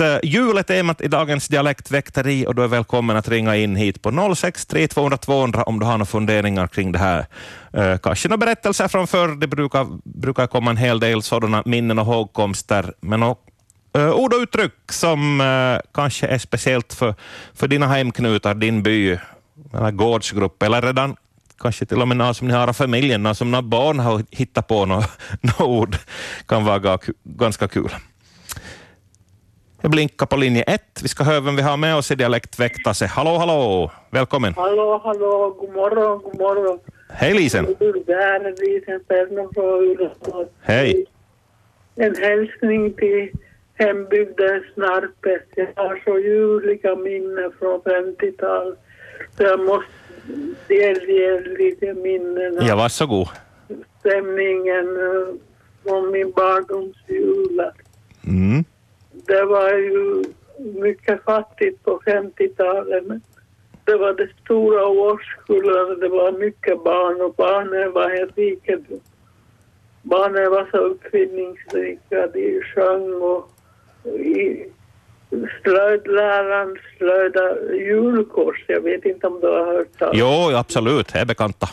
eh, jul är temat i dagens dialektväkteri och du är välkommen att ringa in hit på 063 200 200 om du har några funderingar kring det här. Eh, kanske några berättelser från förr. Det brukar, brukar komma en hel del sådana minnen och hågkomster. Men och, eh, ord och uttryck som eh, kanske är speciellt för, för dina hemknutar, din by, eller gårdsgrupp eller redan kanske till och med någon som ni har av familjen, någon som några barn har hittat på något, något ord, kan vara ga- ganska kul. Jag blinkar på linje ett. Vi ska höra vem vi har med oss i dialektväktase. Hallå, hallå! Välkommen. Hallå, hallå, god morgon, god morgon. Hej Lisen! Det här är Lisen Persson från Ulricehamn. Hej! En hälsning till hembygdens Snarpet. Jag har så ljuvliga minnen från 50-talet. Så jag måste delge lite minnen av Ja, varsågod. stämningen eh, från min barndomsjula. Mm. Det var ju mycket fattigt på 50-talet. men Det var de stora årskullarna, det var mycket barn och barnen var en rikedom. Barnen var så uppfinningsrika, de sjöng och i slöjdläraren slöjda julkors. Jag vet inte om du har hört talas Jo, ja, absolut. Jag är bekanta.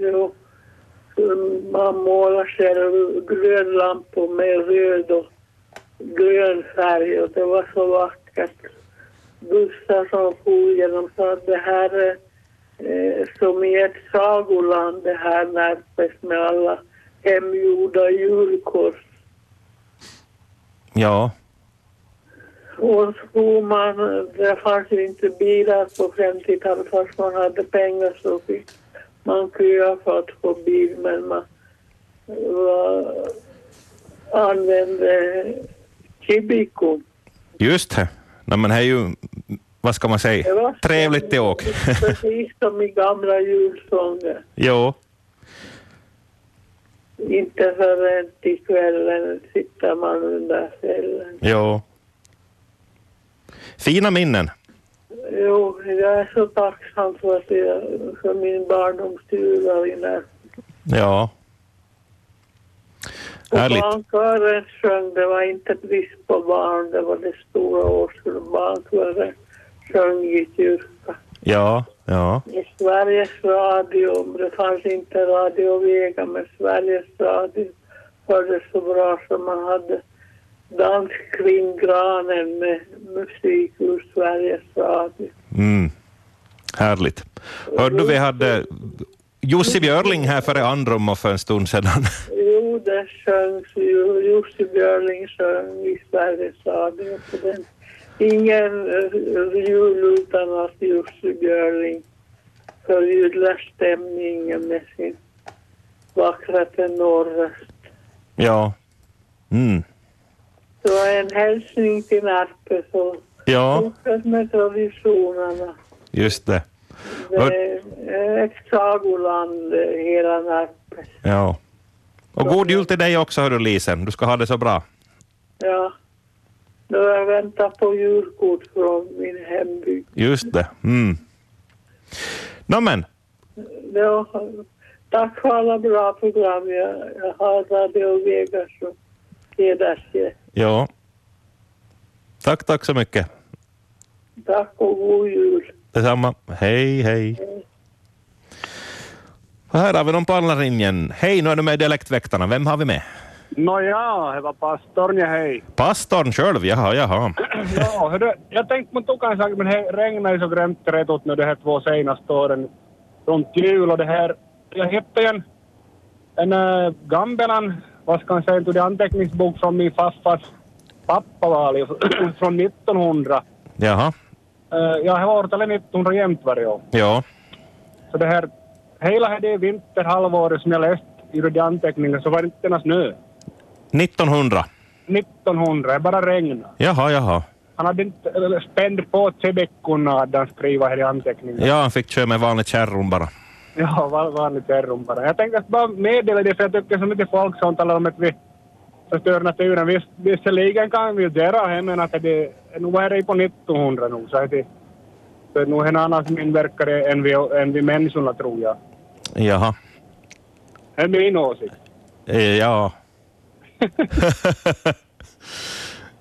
Jo. Mm, Man målar själv glödlampor med röd och grön färg och det var så vackert. Bussar som for genom stan. Det här är eh, som i ett sagoland det här Närpes med alla hemgjorda julkors. Ja, Och så man, det fanns ju inte bilar på 50-talet. Fast man hade pengar så fick man köa för att få bil. Men man var, använde Kibiko. just det. Nej, men det är ju, vad ska man Det säga, var- trevligt i åk. Precis som i gamla julsånger. jo, Inte förrän till kvällen sitter man under fällen. jo. Fina minnen. Jo, jag är så tacksam för, att jag, för min barndomstur där inne. Ja. Och Härligt. Barnkören sjöng, det var inte brist på barn, det var det stora årskullen. Barnkören sjöng i kyrka. Ja, ja. I Sveriges Radio, det fanns inte Radio Vega, men Sveriges Radio hördes så bra som man hade dans kring granen med musik ur Sveriges Radio. Mm. Härligt. Hörde du, vi hade Jussi Björling här före Andrum för en stund sedan. Jo, det sjöngs ju. Jussi Björling sjöng i Sveriges Radio på den. Ingen eh, jul utan att Jussi Björling förgyller stämningen med sin vackra tenorröst. Ja. Mm. Så en hälsning till Närpes och Ja, fortsätt med traditionerna. just det. Det är ett sagoland, eh, hela Närpes. Ja. Och god jul till dig också, hör du Lisen. Du ska ha det så bra. Ja. Nu har jag väntat på julkort från min hembygd. Just det. Mm. Nå men, Ja, tack för alla bra program. Jag, jag har Radio Vega som hedersgäst. ja. Tack, tack så mycket. Tack och god jul. Detsamma. Hej, hej. Och här har vi någon på andra linjen. Hej, nu är du med i Dialektväktarna. Vem har vi med? Nojaa, hyvä pastorni, hei. Pastorn själv, jaha, jaha. Joo, hörru, jag tänkte man tog en sak, men det regnar ju så grymt retut nu de här två senaste åren runt jul och det här. Jag hittade ju en, en äh, gambelan, vad ska man säga, en till det anteckningsbok från min faffas pappa var ju från 1900. Jaha, Äh, jag har varit eller 1900 jämt varje år. ja. Så det här, hela det vinterhalvåret som jag läst i de anteckningarna så var det inte ens snö. 1900. 1900, det bara regnade. Jaha, jaha. Han hade inte eller, spänd på tre veckorna hade han skrivit här i anteckningen. Ja, han fick köra med vanligt kärrum bara. Ja, var, vanligt terrum bara. Jag tänkte att bara meddela det för jag tycker så mycket folk som talar om att vi förstör naturen. Visst, visserligen kan vi ju göra det, men att det, nu var det ju på 1900 nu så att det så att nu är det en annan som inverkar det än vi, än vi människorna tror jag. Jaha. Det är min åsikt. Eh, Ja.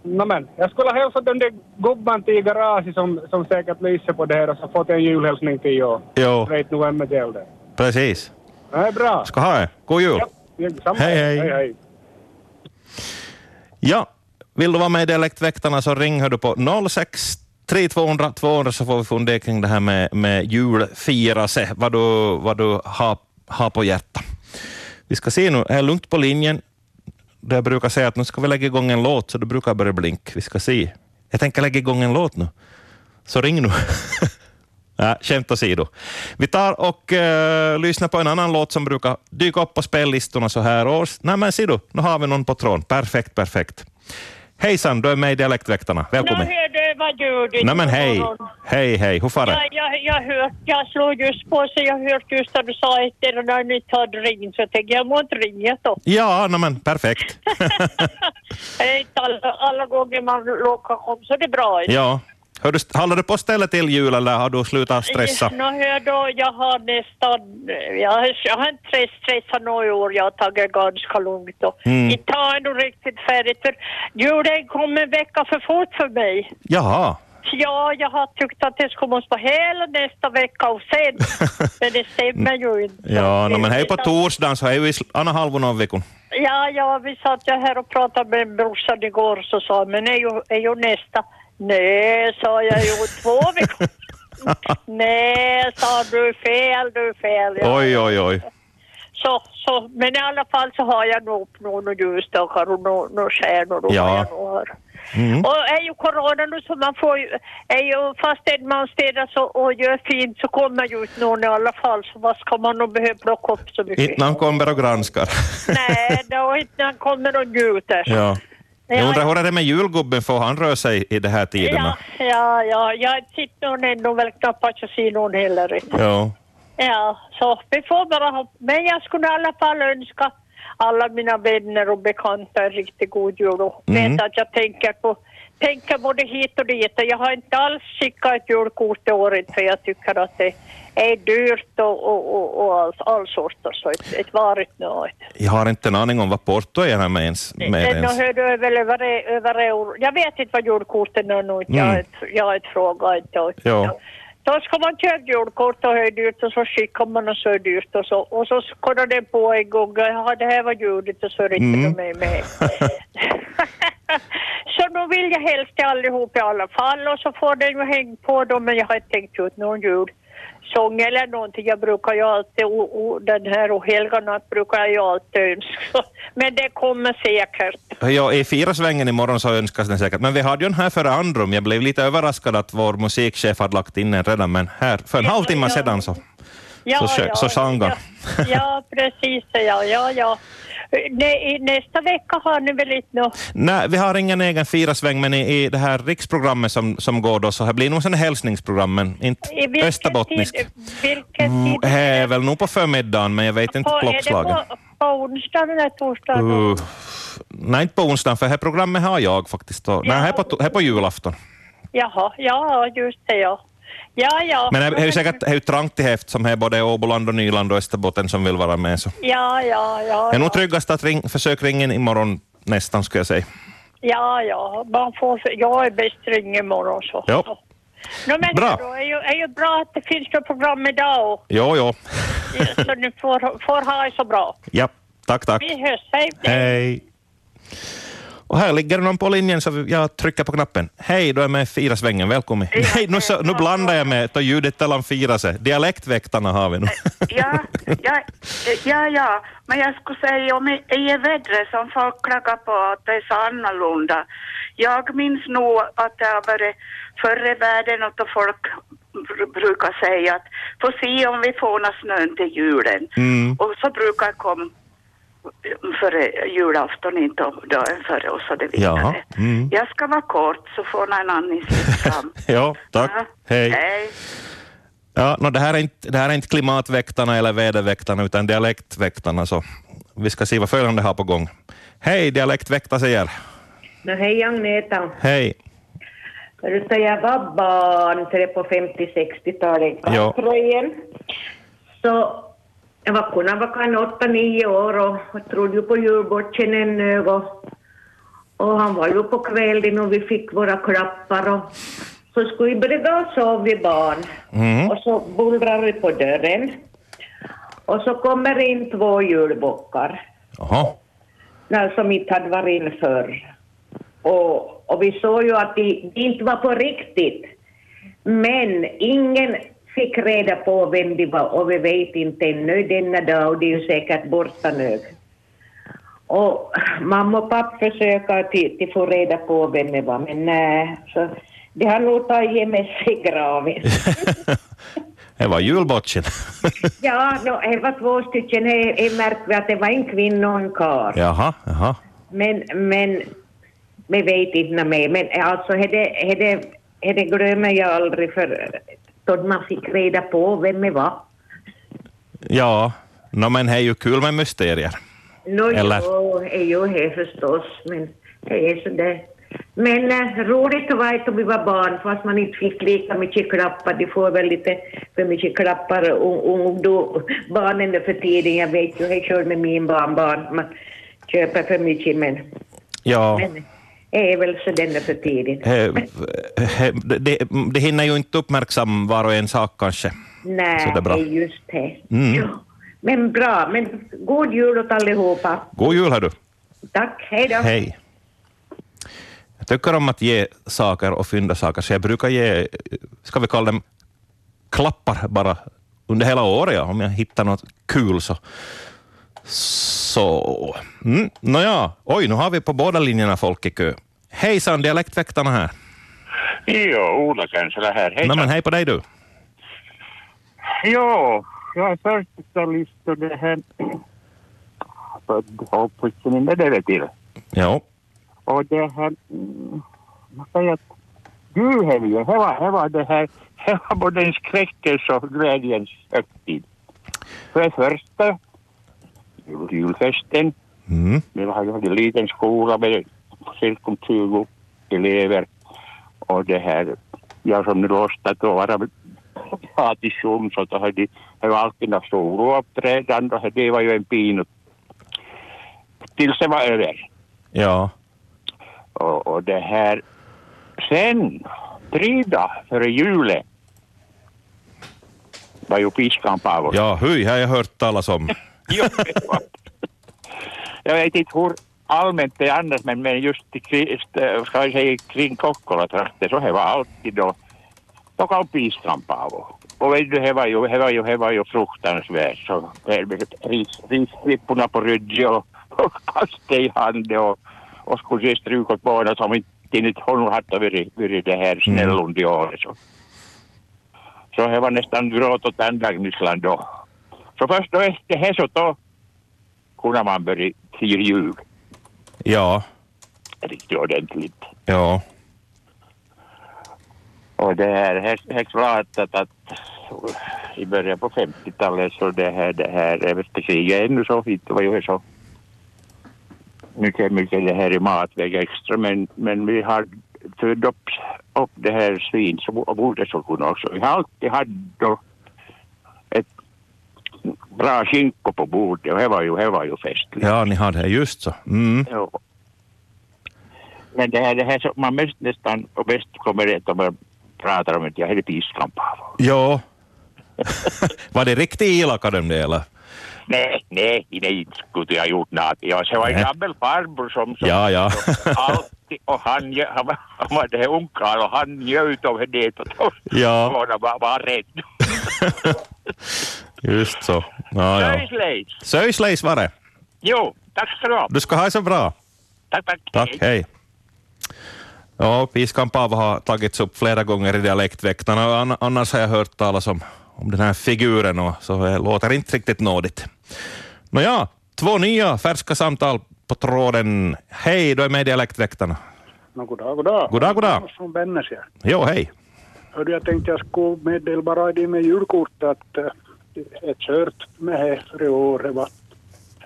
Nämen, jag skulle ha hälsat den där gubben till i garaget som, som säkert lyser på det här och så fått en julhälsning till jag. Jo, Vet nog vem det gäller. precis. Det är bra. Ska ha det. God jul! Ja, samma. Hej, hej. hej, hej. Ja, vill du vara med i Dialektväktarna så ring hör du på 06 3200 200 så får vi fundera kring det här med, med julfirase, vad du, vad du har, har på hjärtat. Vi ska se nu, är det lugnt på linjen? Där jag brukar säga att nu ska vi lägga igång en låt, så du brukar börja blink. Vi ska se. Jag tänker lägga igång en låt nu, så ring nu. Nej, skämt åsido. Vi tar och eh, lyssnar på en annan låt som brukar dyka upp på spellistorna så här års. Nej men se du, nu har vi någon på tråden. Perfekt, perfekt. Hejsan, du är med i Dialektväktarna. Nå, Välkommen. hör du, vad gör du? Nej men hej. God morgon. Hej, hej. Hur far Ja, det? jag, jag, hört, jag slog just på så jag hörde just när du sa ett eller när ni inte hade ringt så tänkte jag, jag må inte ringa då. Ja, nej men perfekt. Det är inte alla, alla gånger man råkar om så det är bra. ja. Hör du, håller du på stället till jul eller har du slutat stressa? Nå, hör du, jag har nästan, jag, jag har inte stress- stressat några år, jag har tagit ganska lugnt och Mm. inte har jag nog riktigt färdigt för julen kom en vecka för fort för mig. Jaha. Ja, jag har tyckt att det skulle måste vara hela nästa vecka och sen. Men det stämmer ju inte. Ja, nej, men hej på torsdagen så är vi i sl- andra halvan av veckan. Ja, ja, vi satt jag här och pratade med brorsan igår så sa han, men är ju, är ju nästa. Nej, sa jag, ju två veckor. Nej, sa du är fel, du är fel. Ja. Oj, oj, oj. Så, så, men i alla fall så har jag nog uppnått några ljusstakar och några några stjärnor. och Ja. vad jag nog har. Mm. Och är ju corona nu så man får ju, är ju fastän man städar så, och gör fint så kommer ju ut någon i alla fall så vad ska man nog behöva plocka upp så mycket? Inte när han kommer och granskar. Nej, då inte när han kommer och njuter. Ja. Jag Ja, undrar ja. hur är det med julgubben, får han rör sig i de här tiderna? Ja, ja, ja, jag sitter nog ändå väl knappast och ser någon heller. Ja. Ja, så vi får bara hoppas. Men jag skulle i alla fall önska alla mina vänner och bekanta en riktigt god jul och Mm. vet att jag tänker på tänker både hit och dit. Jag har inte alls skickat ett julkort i året för jag tycker att det är dyrt och, och, och, och all, all sorts. Så ett, ett varigt nöd. Jag har inte en aning om vad porto är här med ens. Med Sen ens. hör du väl över, över euro. Jag vet inte vad julkorten är nu. Jag har Mm. inte- Jag har inte frågat. inte. Ja. Då ska man köpa julkort och höja dyrt och så skickar man och så är det dyrt och så, och så kollar den på en gång. Jaha, det här var juligt och så rycker Mm. de mig med. så nu vill jag hälsa till allihop i alla fall och så får den ju häng på dem men jag har inte tänkt ut någon julsång eller någonting. Jag brukar ju alltid, och, och, den här och helga natt brukar jag ju alltid önska. Men det kommer säkert. Ja, I fyra svängen imorgon så önskas den säkert. Men vi hade ju den här före andrum. Jag blev lite överraskad att vår musikchef hade lagt in den redan, men här för en Ja, halvtimme ja. sedan så. Så sjö- så sjöng han. Ja, ja, precis. Ja, ja, ja. Nä, i nästa vecka har ni väl inte nå... Nej, vi har ingen egen fyra sväng, men i, i det här riksprogrammet som, som går då så här blir nog sån här hälsningsprogram, men inte i vilken österbottnisk. tid- Vilken Mm, tid? Är väl nog på förmiddagen, men jag vet inte På- klockslaget. Är det på, på onsdagen eller torsdagen? Uh, nej, inte på onsdagen, för det här programmet har jag faktiskt. Och, Nej, Ja. här är på, to- här är på julafton. Jaha, ja, just det ja. Ja, ja. Men det är ju säkert det är ju trangt i häft som är både Åboland och Nyland och Österbotten som vill vara med. Så. Ja, ja, ja. Det är nog ja. tryggast att ring, försök ringa in imorgon nästan, skulle jag säga. Ja, ja. Man får, jag är bäst ring imorgon så. Jo. Nå, men Bra. bra. Då är ju, är ju bra att det finns något program idag och, Jo, jo. så ni får, får ha det så bra. Ja, tack, tack. Vi hörs, hej. Hej. Och här ligger någon på linjen, så jag trycker på knappen. Hej, du är med i Fira svängen, välkommen. Nej, nu, så, nu blandar jag med, då ljudet mellan Fira sig. Dialektväktarna har vi nu. Ja, ja, ja, ja, men jag skulle säga om i i vädret som folk klagar på att det är så annorlunda. Jag minns nog att det har varit förr i världen att då folk br- brukar säga att få se om vi får någon snön till julen. Mm. Och så brukar det komma före julafton, inte om dagen före och så det vidare. Jaha, mm. Jag ska vara kort så får någon annan sitta fram. ja, tack. Ja, Hej. Hej. Ja, no, det, här är inte, det här är inte klimatväktarna eller väderväktarna, utan dialektväktarna. Så vi ska se vad följande har på gång. Hej, dialektväktare säger. No hej Agneta. Hej. Du sa jag var barn så det är på 50-60-talet. Ja. Tröjen. Så jag var kunna vara kan 8-9 år och, och trodde ju på julbortsen ännu. Och, Och han var ju på kvällen och vi fick våra klappar och så skulle vi brygga och sov vi barn. Mm. Och så bullrar vi på dörren. Och så kommer in två julbockar Jaha. när som inte hade varit in förr. Och, och vi såg ju att det de inte var på riktigt. Men ingen fick reda på vem de var och vi vet inte ännu denna dag och de är ju säkert borta nu. Och mamma och pappa försöker till, till få reda på vem det var men nej. Så de har nog tagit med sig i graven. Det var julbotchen. ja, no, det var två stycken. Det det märkte vi att det var en kvinna och en karl. jaha, jaha. Men, men, vi vet inte mer. Men alltså, hade, hade, hade glömmer jag aldrig för då man fick reda på vem det var. Ja, no, men det är ju kul med mysterier. Nå, Eller? jo, det är ju det förstås, men det är så det. Men eh, roligt var det då vi var barn, fast man inte fick lika mycket klappar. De får väl lite för mycket klappar och, och då, barnen nu för tiden. Jag vet ju, jag kör med min barnbarn, man köper för mycket, men, Ja. men det är väl så den nu för tiden. Eh, eh, Det, det hinner ju inte uppmärksamma var och en sak kanske. Nej, Så det är bra. just det. Mm. Ja. Men bra, men god jul åt allihopa. God jul, hör du. Tack, hej då. Hej. Jag tycker om att ge saker och fynda saker, så jag brukar ge, eh, ska vi kalla dem klappar bara under hela året. Ja. Om jag hittar något kul så... Så... Mm, Nåja, oj, nu har vi på båda linjerna folk i kö. Hejsan, dialektväktarna här. Joo, Ulla Känselä här. Hej. Nej, men hej på dig du. Joo, jag är fyrtiotalist och det här... Född och uppvuxen i Medeleville. Jo. Och det här... mm, Man säger att julhelgen, det var, det var det här... Det var både en skräckens och glädjens högtid. För det första, jul- julfesten. Mm. Vi hade hade en liten skola med cirka 20 elever. Och det här, jag som nu låtsas då vara fattigsom så då hade det var alltid några solouppträdanden och det var ju en pinot. Tills det var över. Ja. Och, och det här, sen, tre dagar före julen, var ju piskan Paavo. Ja, hyi, har jag hört talas om. Jo, det var- jag vet inte hur allmänt det är annars, men, men just i kri- äh, ska jag säga, kring Kokkolatrakten så det var alltid då, då kom piskampaavo. Och vet du, det var ju, det var ju, det var ju fruktansvärt. Så det blev ris- risripporna på ryggen och, och kaste i handen och, och skulle se stryk åt barnen som inte inte hon hade varit, varit det här snällund i år. Så. så det var nästan gråt och tandagnisslan då. Så först då efter det så då kunde man börja fira jul Ja, riktigt ordentligt. ja. Och det här, helt, helt klart att, att i början på 50-talet så det här, det här efter kriget ännu så inte var ju så mycket, mycket det här i matväg extra men, men vi har född upp, upp det här svin som och borde så kunna också. Vi har alltid haft då ett bra skinko på bordet och det var ju, det var ju festligt. Ja, ni hade det, just så. Mm. Jo. Men det här, det här som man mest nästan och bäst kommer det om man pratar om att jag hade piskampa. Ja. Var det riktigt elaka de det, eller? Nej, nej, nej, inte skulle jag gjort något. Ja, se var en Nej. gammal farbror som, som Ja, ja. alltid, och han, gö- han var, han var det här ungkarl och han njöt av det och då Ja. var han bara, bara rädd. Just så. Ja, ja. Söjslejs! Söjsleis var det. Jo, tack ska du ha. Du ska ha det så bra. Tack, tack. Tack, hej. Ja, Piskan Paavo har tagits upp flera gånger i dialektväktarna och an- annars har jag hört talas om, om den här figuren och så det låter inte riktigt nådigt. Nåja, två nya färska samtal på tråden. Hej, du är med i dialektväktarna. No, goddag, goddag. Goddag, goddag. Thomas Från Vännäs här. Jo, hej. Hörde jag tänkte jag skulle meddela bara det med julkortet att eh, det är kört med det för i år. Det var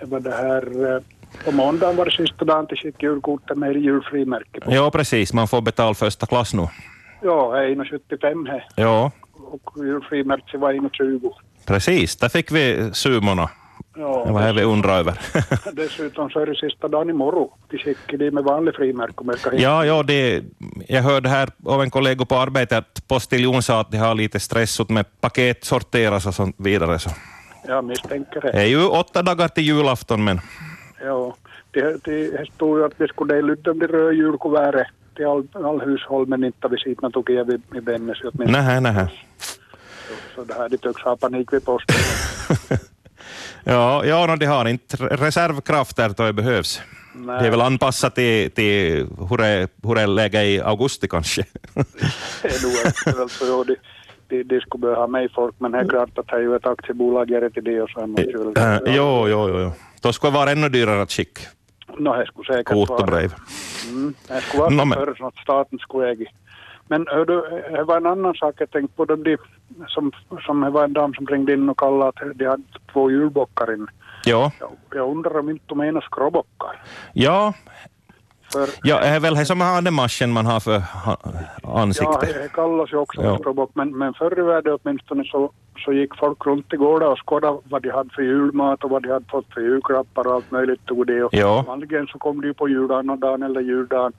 det, var det här... eh, På måndagen var det sista dagen till sitt julkortet med julfrimärke på. Jo, precis. Man får betala första klass nu. Ja, det är 1,75 här Jo, och julfrimärket var 1,20. precis. Där fick vi sumorna. Det var Ja, det vi undrade över. dessutom så är det sista dagen imorgon. De skickar de med vanlig frimärke och märker ja, ja, det, jag hörde här av en kollega på arbetet att postiljon sa att de har lite stressat med paket sorteras och sånt vidare. Så. Jag misstänker det. Det är ju åtta dagar till julafton, men Ja, det, det här stod ju att vi skulle dela ut dem de röda julkuvertet till all, all hushåll, men inte har vi sett något tukia vid, vid Vännäs åtminstone. nähä, nähä. Så det här, de tycks ha panik vid posten. Ja, ja no, de har inte reservkrafter då det behövs. Nej. Det är väl anpassat till, till hur det- hur det är läget i augusti kanske. Det är nog aktuellt, så ja, de, de, de skulle behöva ha med folk, men det är klart att det är ju ett aktiebolag är det till det och så är man ju väl... Mm. Äh, jo, jo, jo. jo. Då skulle det vara ännu dyrare att skicka No, det skulle säkert kort och vara. brev. Mm, det skulle vara No, no, men- förr så att staten skulle äga. Men hör du, det var en annan sak jag tänkte på. De, de, som, som, det var en dam som ringde in och kallade att de hade två julbockar in. Ja, Jag, jag undrar om inte de menar skråbockar. ja, För ja det är väl det som har den maschen man har för ha- ja, eh, ansikte. det det kallas ju också Ja. för skråbock, men, men förr i världen åtminstone så, så gick folk runt i gården och skådade vad de hade för julmat och vad de hade fått för julklappar och allt möjligt. Och det. Och Ja. Vanligen så kom de ju på julannandagen eller juldagen.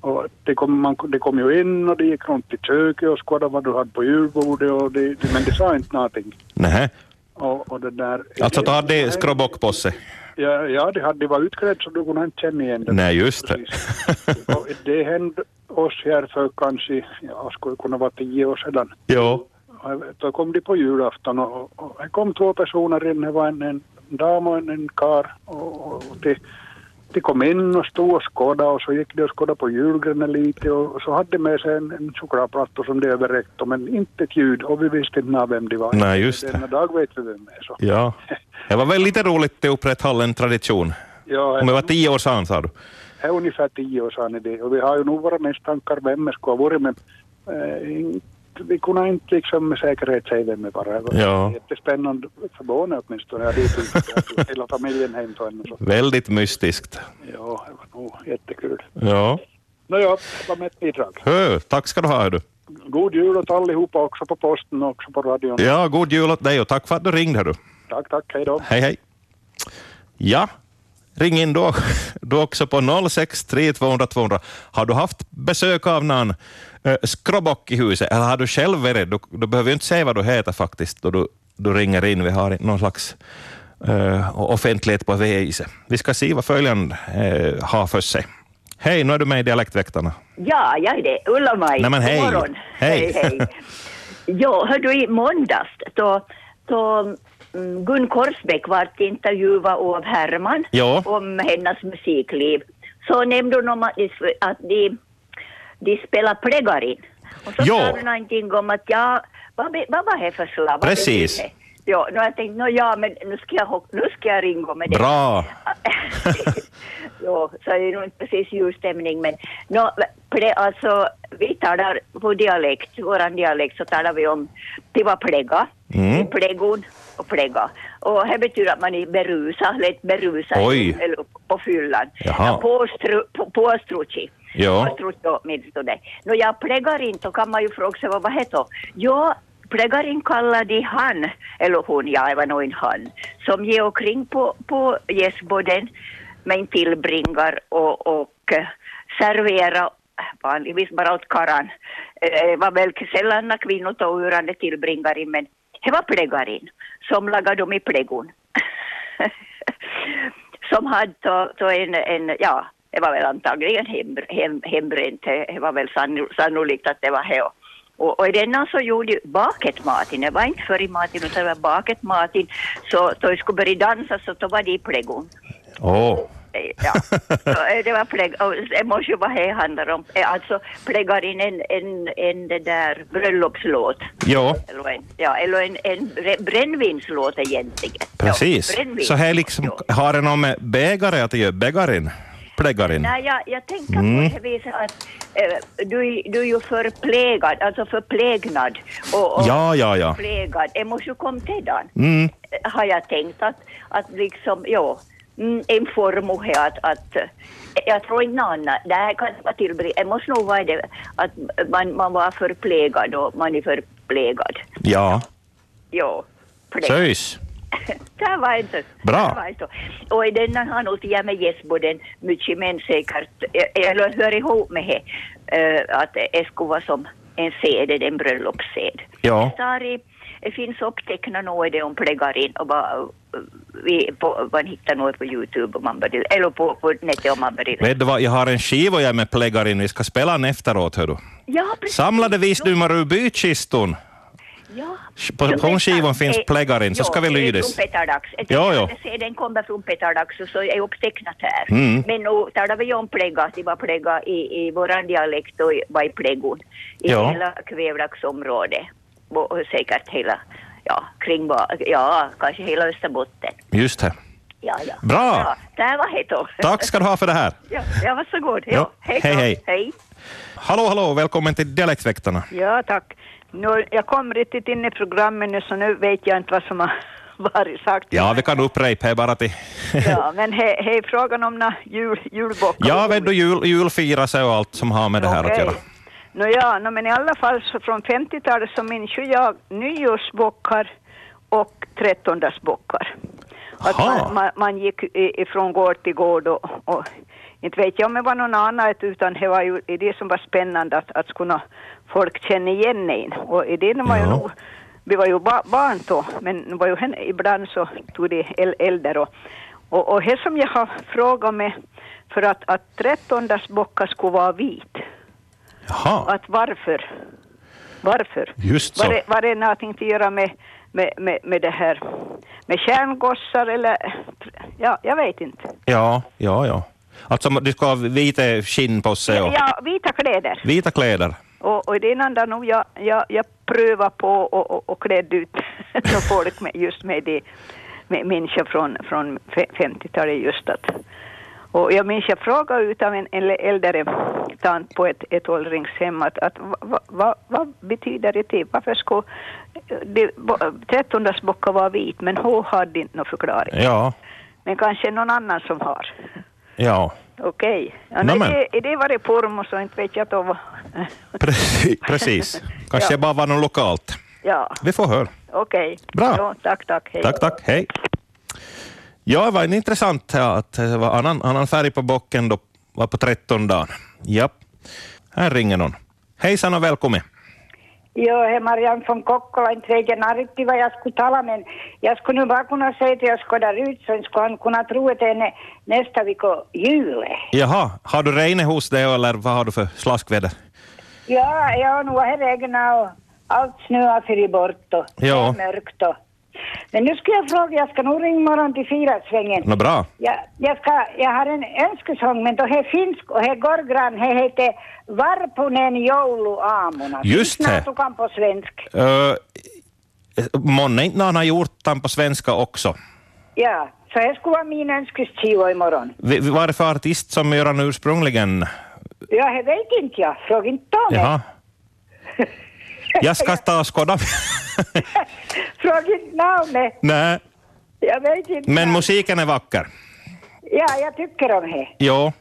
Och det kom, man, det kom ju in och det gick runt i köket och skådade vad du hade på julbordet, och det, det, men det sa inte någonting. Nähä. Och, och det där, Alltså, ta eh, det skrobockposse. Ja, ja det hade de var utklädd så du kunde inte känna igen det. Nej, just det. Precis. Och No, det hände oss här för kanske, ja, skulle kunna vara tio år sedan. Jo, Då kom de på julafton och, och, och det kom två personer in. Det var en, en dam och en, en kar. Och, och, och de, de kom in och stod och skådade och så gick de och skådade på julgranen lite och, och så hade de med sig en, en chokladplatta som de överräckte men inte ett ljud och vi visste inte vem de var. Nej, just det. Denna dag vet vi vem det är. Så. ja. Det var väl lite roligt att upprätthålla en tradition. Ja, Om jag var tio år sedan, sa du. Det är ungefär tio år sedan det och vi har ju nog våra misstankar vem det skulle ha varit men eh, inte- vi kunde inte liksom med säkerhet säga vem det var. Det var Ja. jättespännande för barnen åtminstone. Ja, det är typ, hela familjen hem till henne. Så. Väldigt mystiskt. Ja, det var nog jättekul. Ja. Nåja, det var mitt bidrag. Hö, tack ska du ha. hör Du. God jul åt allihopa också på posten och också på radion. Ja, god jul åt dig och tack för att du ringde. hör Du. Tack, tack, hej då. Hej, hej. Ja, ring in då, då också på 063 200 200. Har du haft besök av någon eh, skrobock i huset eller har du själv varit? Du, du behöver ju inte säga vad du heter faktiskt då du, du ringer in. Vi har någon slags eh, offentlighet på viset. Vi ska se vad följande eh, har för sig. Hej, nu är du med i Dialektväktarna. Ja, jag är det. Ulla-Maj. Nej, men hej. God morgon. Hej. Hej, hej. ja, hör du, i måndags då, då mm, Gun Korsbäck vart intervjuad av Herman Ja. om hennes musikliv. Så nämnde hon om att de, att de, de spelar plägarin. Och så Ja. sa hon någonting om att ja, vad, be- vad var det för slav? Vad Precis. betyder det? Ja, nu har jag tänkt, nå ja, men nu ska jag, ho- nu ska jag ringa med det. Bra. ja, så är det nog inte precis julstämning, men no, ple, alltså, vi talar på dialekt, vår dialekt, så talar vi om det var plägga, Mm. pläggon och plägga. Och det betyder att man är berusad, lätt berusad, Oj. eller på fyllan. Jaha. Ja, Påstru, på, påstrutsi. Ja. Påstrutsi åtminstone. Nå, jag pläggar inte, då kan man ju fråga sig vad vad heter. Ja, Plägarin kallade de han, eller hon, ja, det var nog en han, som ger omkring på, på gästbåden men tillbringar och, och eh, serverar vanligtvis bara åt karan. Eh, Det var väl sällan när kvinnor tog ur henne tillbringarin, men det var plägarin som lagade dem i pläggon. som hade då, då en, en, ja, det var väl antagligen hem, hem, hembränt, det var väl sanno- sannolikt att det var det. Och, och i denna så gjorde ju baketmatin, det var inte förr i maten utan det var baketmatin, så då jag skulle börja dansa så då var det i pläggon. Åh, oh. Eh, Ja, Så, eh, det var plägg, och det måste ju vara det handlar om. Eh, Alltså pläggar in en, en, en det där bröllopslåt. ja, Eller en, ja, eller en, en bre- brännvinslåt egentligen. precis. Ja, brännvin. Så här liksom, Ja. har det något med bägare att göra? Bägarin? Plägarin? Nej, jag, jag tänker Mm. på det viset att eh, du, du är ju förplägad, alltså förplägnad. Och, och Ja, ja, ja. Förplägad, det måste ju komma till den. Mm. Eh, Har jag tänkt att, att liksom, ja, mm, en form och här att, att eh, jag tror inte något annat. Det här kan inte vara tillbringat. Det måste nog vara det att man, man var förplägad och man är förplägad. Ja, Ja. plägad. söjs. det här var inte. Bra. Det var inte. Och i denna har nog till och med gästboden mycket men säkert, eh, eller hör ihop med det, eh, att det skulle vara som en sed, en bröllopssed. Ja. Sari, det finns upptecknat något det om plegarin och bara, vi, på, man hittar något på Youtube om man börjar, eller på, på nätet om man börjar. Vet du vad, jag har en skiva jag är med pläggar in. Vi ska spela den efteråt. Hör du. Ja, precis. Samlade visdomar ur bykiston. Ja. På Så sångskivan Petar- finns eh, pläggarin, så ja, ska vi det är lydas. Från Petar Dax. Jag Ja, ja. tänkte säga, Den kommer från Petar Dax och så är upptecknat här. Mm. Men nu talar vi ju om plägga, det var plägga i, i våran dialekt och i- var i pläggon. I Ja. hela Kvävlaxområdet. Och och säkert hela, ja, kring, ba- ja, kanske hela Österbotten. Just det. Ja, ja. Bra. Det här var hett då. Tack ska du ha för det här. Ja, ja, varsågod. Ja. Ja. Hej, Hej, då. hej. hej. Hallå, hallå, välkommen till Dialektväktarna. Ja, tack. Nu, jag kom riktigt in i programmet nu, så nu vet jag inte vad som har varit sagt. Ja, vi kan upprepa det bara till... Ja, men hej, hej, frågan om na, jul, julbockar. Ja, vet du, jul, julfirelse och allt som har med det här att Okej. göra. Nå ja, nå, men i alla fall så från 50-talet så minns ju jag nyårsbockar och trettondagsbockar. Att Aha. man, man, man gick i- ifrån gård till gård och, och inte vet jag om det var någon annat utan det var ju det som var spännande att, att kunna folk känna igen en. Och i det var ju Ja. nog, vi var ju ba, barn då men det var ju, hen- ibland så tog det el- äldre och, och, och det som jag har frågat mig för att, att trettondagsbockar skulle vara vit Jaha, att varför? Varför? Just så. Var det, var det någonting att göra med, med, med, med det här med kärngossar eller? Ja, jag vet inte. ja, ja, ja. Alltså, du ska ha vita skinn på sig och Ja, vita kläder. vita kläder. Och, och det enda nog jag, jag, jag prövade på och, och, och klädde ut några folk med, just med det med människor från, från fe- 50-talet just att och jag minns jag frågade utav en äl- äldre tant på ett, ett åldringshem att, att va, va, va, vad betyder det till? Varför skulle det- bo- trettondagsbockar vara vit? Men hon hade inte någon förklaring. Ja, Men kanske någon annan som har. ja. Okej. Ja, Nämen. nej, det, det var det pormo så inte vet jag då vad... Precis. Precis. Kanske Ja. bara var något lokalt. Ja. Vi får höra. Okej. Bra. Ja, tack, tack. Hej. Tack, tack. Hej. Ja, det var en intressant ja, att det var annan, annan färg på bocken då var på 13 dagen. Japp. Här ringer någon. Hejsan och välkommen. Joo, he Marianne från Kokkola, inte vet jag narriktigt vad jag skulle tala men jag skulle nu bara kunna säga till Oskar där ut så inte skulle han kunna tro att det är nä- nästa vecka jul. Jaha, har du regnet hos dig eller vad har du för slaskväder? Ja, ja, nu har det regnat och allt snö har fyrit bort och det Ja. är mörkt och... Men nu ska jag fråga, jag ska nog ringa imorgon till firasvängen. Nå No bra. Jag, jag, ska, jag har en önskesång, men då är finsk och här går grann. Det heter Varpunen jouluaamuna. Just det. Lyssna, du kan på svensk. Uh, Månne inte när han har gjort den på svenska också. Ja, så här skulle vara min önskeskiva imorgon. Vi- vi- Vad är det för artist som gör den ursprungligen? Ja, det vet inte jag. Fråga inte Tommy. Jaha. Jag ska ta och skåda. Fråga inte namnet. Nej, Jag vet inte. men musiken är vacker. Ja, jag tycker om det. Jo,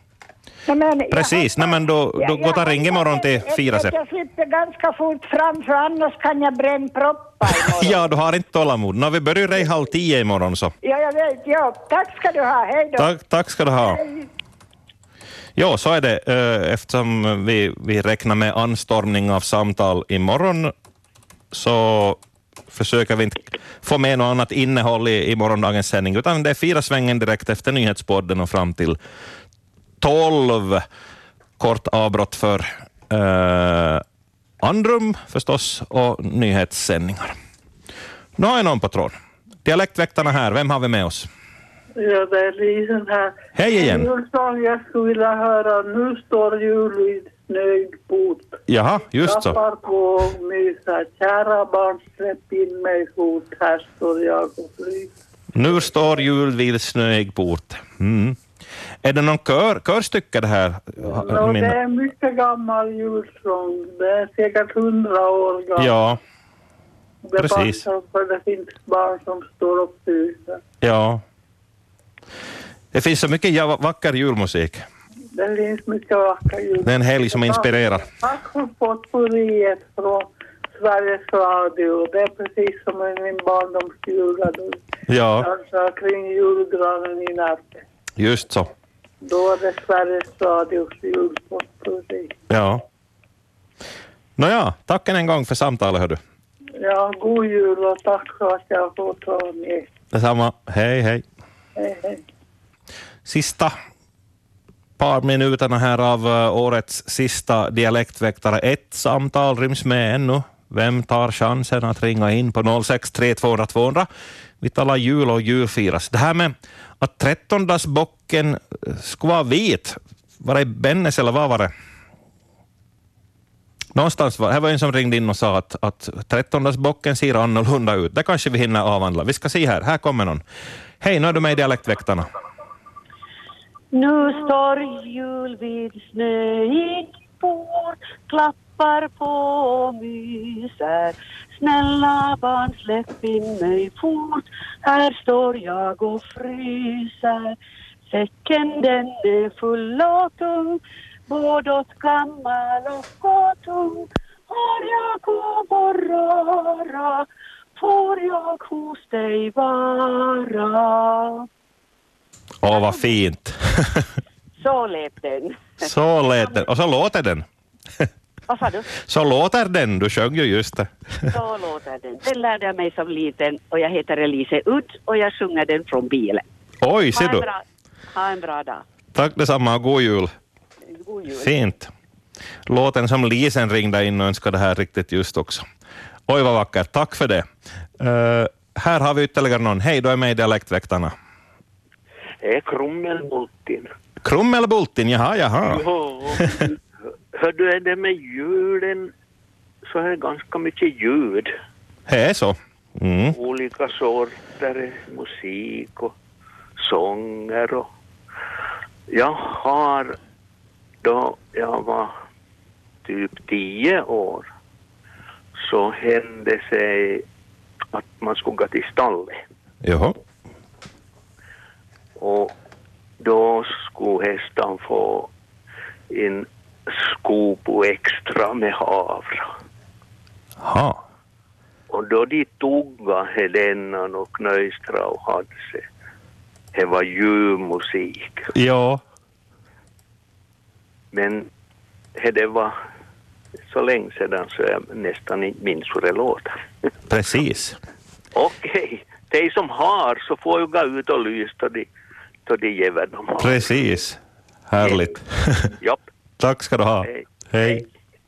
Nej, men jag Precis. hoppas- Nej, men då- då Ja, går det jag ring imorgon hoppas till att- Fira sen. Att jag slipper ganska fort fram, för annars kan jag bränna proppar imorgon. ja, du har inte tålamod. Nå, vi börjar i halv tio imorgon så. ja, jag vet. Ja. Tack ska du ha. Hej då. Tack, tack ska du ha. Ja, så är det. Eh, Eftersom vi, vi räknar med anstormning av samtal imorgon så försöker vi inte få med något annat innehåll i, i morgondagens sändning, utan det är fyra svängen direkt efter nyhetspodden och fram till tolv. Kort avbrott för eh, andrum förstås och nyhetssändningar. Nu har jag någon på tråd. Dialektväktarna här, vem har vi med oss? Ja, det är Lisen här. Hej igen. En sång jag skulle vilja höra. Nu står jul i snöig bot. Jaha, just så. Klappar på och myser. Kära barn, släpp in mig fort. Här står jag och fryser. Nu står jul vid snöig port. Mm. Är det någon kör, körstycke det här? Nå, det Min- är en mycket gammal julsång. Det är säkert hundra år gammal. Ja, det är precis. Bara, för det finns barn som står upp i huset. ja. Det finns så mycket ja- vacker julmusik. Det finns mycket vackra ljud. Det är en helg som inspirerar. Tack för potpurriet från Sveriges Radio. Det är precis som i min barndomsjul. Ja, dansar kring julgranen i natten. just så. Då är det Sveriges Radios julpostmusik. Ja. Nåja, tack än en gång för samtalet. Hördu. Ja, god jul och tack för att jag får ta vara med. Detsamma. Hej, hej. Hej, hej. Sista par minuterna här av eh, årets sista Dialektväktare 1 samtal ryms med ännu. Vem tar chansen att ringa in på 06 300 200? Vi talar jul och julfiras. Det här med att trettondagsbocken eh, skulle vara vit, var det i Bennes eller vad var det? Någonstans var, här var en som ringde in och sa att, att trettondagsbocken ser annorlunda ut. Det kanske vi hinner avhandla. Vi ska se här, här kommer någon. Hej, nu är du med i Dialektväktarna. Nu står jul vid snöigt bord, klappar på och myser. Snälla barn, släpp in mig fort, här står jag och fryser. Säcken den är full och tung, både åt gammal och tung. Har jag gåvoröra, får jag hos dig vara. Åh, vad fint. Så lät den. Så lät den. Och så låter den. Vad sa du? Så låter den. Du sjöng ju just det. Så låter den. Den lärde jag mig som liten och jag heter Elise Udd och jag sjunger den från bilen. Oj, ser Ha en du. bra, ha en bra dag. Tack detsamma och god jul. God jul. Fint. Låten som Lisen ringde in och önskade här riktigt just också. Oj, vad vackert. Tack för det. Eh, här har vi ytterligare någon. Hej, du är med i Dialektväktarna. Det är Krummelbultin. Krummelbultin, jaha, jaha. Ja. Hör du, är det med julen så är det ganska mycket ljud. Det är så. Mm. Olika sorter, musik och sånger. Och... Jag har då jag var typ tio år så hände sig att man skulle gå till stallet. Jaha. Och då skulle hästen få en skopo extra med havre. Ha. Och då de tugga Helenan och Knöstra och Hadse, det var ljuv musik. Ja. Men det var så länge sedan så jag nästan inte minns hur det låter. Precis. Okej, de som har så får ju gå ut och lysa då de, då de ger vad de har. Precis. Härligt. Japp. Tack ska du ha. Hej. Hej.